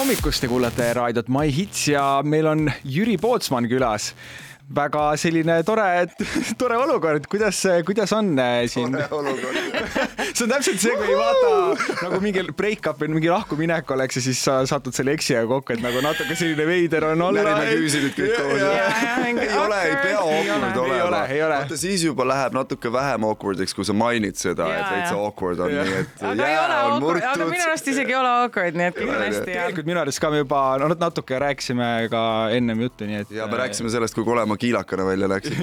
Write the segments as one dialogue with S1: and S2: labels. S1: hommikust, te kuulate raadiot My Hits ja meil on Jüri Pootsman külas. väga selline tore, tore olukord, kuidas , kuidas on äh, siin ?
S2: olukord .
S1: see on täpselt see , kui vaata nagu mingi break-up või mingi lahkuminek oleks ja siis sa satud selle eksija kokku , et nagu natuke selline veider on olla .
S2: Närime küüsi nüüd kõik koos . ei ole , ei pea awkward
S1: ei ole
S2: olema .,
S1: ei ole .
S2: vaata siis juba läheb natuke vähem awkward'iks , kui sa mainid seda , et
S3: Jaa,
S2: veitsa
S3: jaa.
S2: awkward on ,
S1: Jaa.
S2: nii et
S3: aga ei ole
S2: jää on
S3: awkward , aga minu
S2: murtud .
S3: arust isegi ei ole awkward , nii et kõik on hästi hea .
S1: tegelikult minu arust ka me juba no, natuke rääkisime ka ennem juttu , nii et .
S2: ja me rääkisime sellest , kui kole ma kiilakana välja läksin .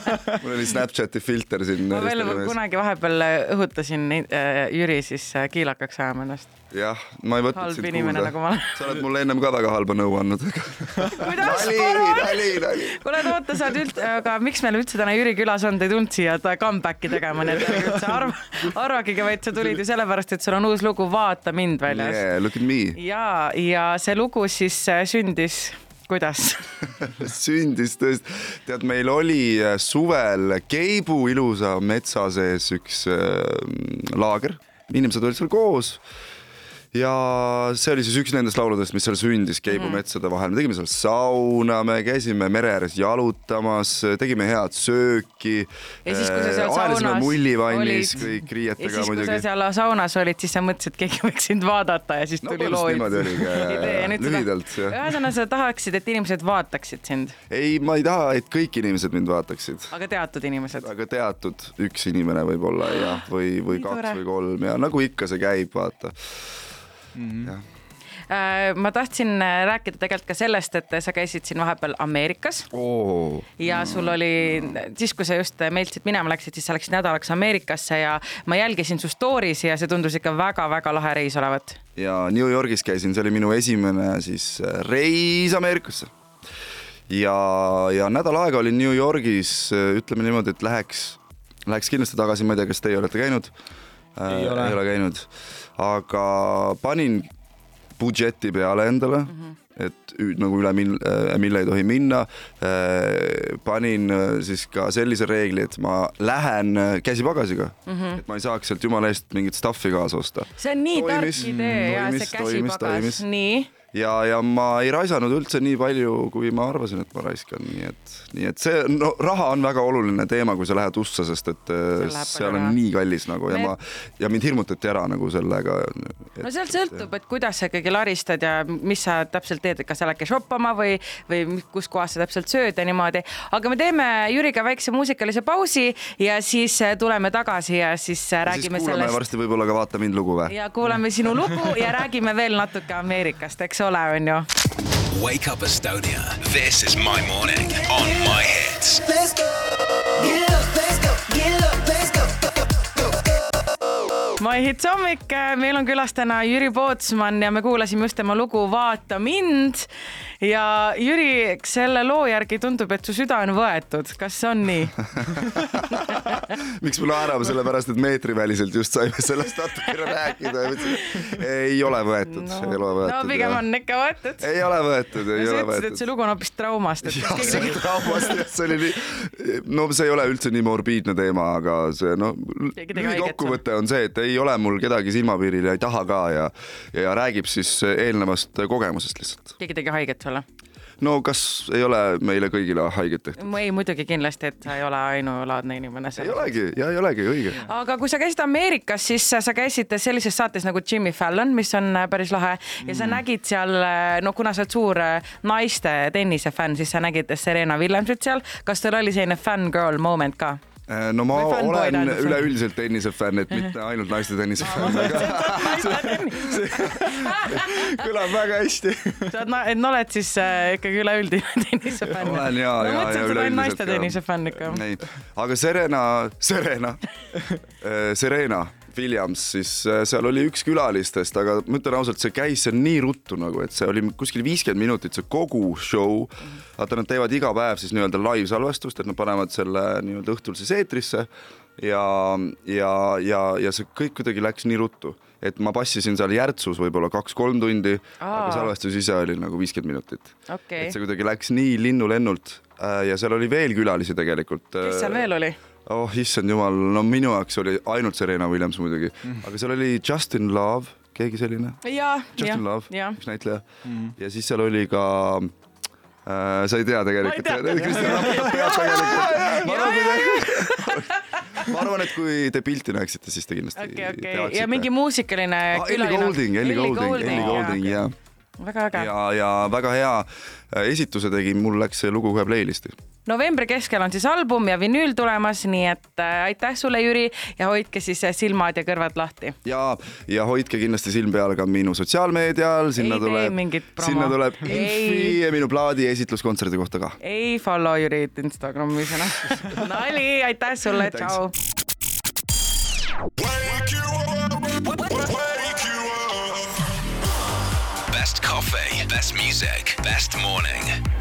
S2: mul oli Snapchati filter siin .
S3: ma veel kunagi vahepeal õhutasin äh, Jüri siis äh, kiilakaks ajama ennast .
S2: jah , ma ei võtnud
S3: Halb
S2: sind
S3: inimene,
S2: kuulda
S3: nagu ma olen. .
S2: sa oled mulle ennem ka väga halba nõu andnud .
S3: kuidas
S2: nali ,
S3: palun ?
S2: nali , nali .
S3: kuule , oota , sa oled üld- , aga miks meil üldse täna Jüri külas on , ta ei tulnud siia ta comeback'i tegema , nii et ärge üldse arva , arvagegi , vaid sa tulid ju sellepärast , et sul on uus lugu Vaata mind väljas yeah. .
S2: Yeah, look at me .
S3: ja , ja see lugu siis äh, sündis , kuidas ?
S2: sündis tõesti , tead , meil oli äh, suvel Keibu ilusa metsa sees üks äh, laager , inimesed olid seal koos ja see oli siis üks nendest lauludest , mis seal sündis Keibu
S3: Mhm.
S2: mm. metsade vahel , me tegime seal sauna , me käisime mere ääres jalutamas , tegime head sööki .
S3: ja siis , kui sa seal saunas
S2: mullivannis
S3: olid
S2: kõik
S3: ja
S2: riietega
S3: siis , kui sa
S2: muidugi .
S3: seal saunas olid , siis sa mõtlesid , et keegi võiks sind vaadata ja siis
S2: No
S3: tuli
S2: põhimõtteliselt
S3: loo
S2: niimoodi oligi, jah, jah,
S3: idee ja nüüd sa
S2: lühidalt,
S3: tahad ,
S2: jah.
S3: ühesõnaga sa tahaksid , et inimesed vaataksid sind ,
S2: ei , ma ei taha , et kõik inimesed mind vaataksid .
S3: aga teatud inimesed .
S2: aga teatud üks inimene võib-olla jah , või , või
S3: Nii
S2: kaks
S3: tore.
S2: või kolm ja nagu ikka see käib , vaata .
S3: ma tahtsin äh, rääkida tegelikult ka sellest , et sa käisid siin vahepeal Ameerikas ja sul oli , siis kui sa just meilt siit minema läksid , siis sa läksid nädalaks Ameerikasse ja ma jälgisin su story's ja see tundus ikka väga-väga lahe reis olevat .
S2: ja New Yorgis käisin , see oli minu esimene siis äh, reis Ameerikasse . ja , ja nädal aega olin New Yorgis , ütleme niimoodi , et läheks , läheks kindlasti tagasi , ma ei tea , kas teie olete käinud .
S1: Ei ole.
S2: ei ole käinud , aga panin budžeti peale endale mm ,
S1: Mhm.
S2: -hmm. et ü- nagu üle mil- , mille ei tohi minna . panin äh, siis ka sellise reegli , et ma lähen äh, käsipagasiga mm ,
S1: Mhm.
S2: -hmm. et ma ei saaks sealt jumala eest mingit stuff'i kaasa osta
S3: see on nii
S2: Toimis,
S3: tark idee ja see
S2: toimis, toimis, toimis.
S3: käsipagas , nii
S2: ja , ja ma ei raisanud üldse nii palju , kui ma arvasin , et ma raiskan , nii et , nii et see no, raha on väga oluline teema , kui sa lähed USA , sest et äh,
S3: läheb
S2: seal
S3: palju
S2: on
S3: raha.
S2: nii kallis nagu ja
S3: Me-
S2: ma ja mind hirmutati ära nagu sellega .
S3: no sealt sõltub , et kuidas sa ikkagi laristad ja mis sa täpselt teed , et kas sa lähedki shoppama või , või kus kohas sa täpselt sööd ja niimoodi . aga me teeme Jüriga väikse muusikalise pausi ja siis äh, tuleme tagasi ja siis äh, räägime
S2: siis kuulame
S3: sellest
S2: varsti võib-olla ka Vaata mind lugu või ?
S3: ja kuulame sinu lugu ja räägime veel natuke Ameerikast , eks ole , onju .
S4: Wake up Estonia. This is my morning on my hits.
S5: Let's go. Get up, let's go. Get up, let's go. go, go, go, go.
S3: My Hits hommik , meil on külas täna Jüri Pootsman ja me kuulasime just tema lugu Vaata mind . ja Jüri , selle loo järgi tundub , et su süda on võetud , kas see on nii ?
S2: miks me naerame , sellepärast et meetriväliselt just saime sellest natukene rääkida . ei ole võetud no. , ei ole võetud .
S3: no pigem on ikka võetud .
S2: ei ole võetud , ei ole
S3: sa ütlesid , et
S2: võetud
S3: see . lugu on hoopis traumast , et
S2: jah ,
S3: keegi
S2: see
S3: tegi ,
S2: oli traumast jah , see oli nii , no see ei ole üldse nii morbiidne teema , aga see noh ,
S3: Keegi tegi haiget
S2: lühikokkuvõte on see , et ei ole mul kedagi silmapiiril ja ei taha ka ja , ja räägib siis eelnevast kogemusest lihtsalt .
S3: keegi tegi haiget sulle .
S2: no kas ei ole meile kõigile haiget tehtud ?
S3: ei , muidugi kindlasti , et sa ei ole ainulaadne inimene
S2: ei
S3: seal .
S2: olegi ja ei olegi õige .
S3: aga kui sa käisid Ameerikas , siis sa käisid sellises saates nagu Jimmy Fallon , mis on äh, päris lahe ja
S2: Mm.
S3: sa nägid seal , no kuna sa oled suur äh, naiste tennisefänn , siis sa nägid Serena Williamsit seal . kas teil oli selline fangirl moment ka ?
S2: Äh, no ma
S3: Või fanboy
S2: olen
S3: tähendab see.
S2: üleüldiselt tennise fänn , et mitte ainult naiste tennise fänn , aga kõlab väga hästi .
S3: sa oled , no oled siis äh, ikkagi üleüldine tennisefänn .
S2: olen ja , ja , ja
S3: mõtlesin , et sa oled
S2: üleüldiselt
S3: naiste
S2: ka.
S3: tennisefänn ikka .
S2: ei , aga Serena , Serena , Serena Williams , siis äh, seal oli üks külalistest , aga ma ütlen ausalt , see käis seal nii ruttu nagu , et see oli kuskil viiskümmend minutit , see kogu show . vaata , nad teevad iga päev siis nii-öelda laivsalvestust , et nad panevad selle nii-öelda õhtul siis eetrisse ja , ja , ja , ja see kõik kuidagi läks nii ruttu et ma passisin seal Järtsus võib-olla kaks-kolm tundi , aga
S3: Aa.
S2: salvestus ise oli nagu viiskümmend minutit
S3: Okei.
S2: et see kuidagi läks nii linnulennult äh, ja seal oli veel külalisi tegelikult . äh,
S3: kes seal veel ? oli ?
S2: oh issand jumal , no minu jaoks oli ainult Serena Williams muidugi , aga seal oli Justin Love , keegi selline
S3: ja , ja
S2: Justin , Love
S3: ja ,
S2: üks näitleja mm. ja siis seal oli ka äh, , sa ei tea tegelikult .
S3: Ma ei tea.
S2: ma arvan , et kui te pilti näeksite , siis te kindlasti
S3: okei , okei
S2: teadsite.
S3: ja mingi muusikaline
S2: Ah, Elli Goulding , Elli Goulding , Elli Goulding , jaa .
S3: väga äge .
S2: ja , ja väga hea äh, esituse tegi , mul läks see lugu kohe playlist'i .
S3: novembri keskel on siis album ja vinüül tulemas , nii et äh, aitäh sulle , Jüri ja hoidke siis äh, silmad ja kõrvad lahti .
S2: ja , ja hoidke kindlasti silm peal ka minu sotsiaalmeedial , sinna
S3: tee
S2: tuleb
S3: mingit , promo.
S2: sinna tuleb
S3: Ei.
S2: infi ja minu plaadi esitluskontserdi kohta ka .
S3: ei follow Jürit Instagramis enam . nali , aitäh sulle , tšau .
S4: Best coffee, best music, best morning.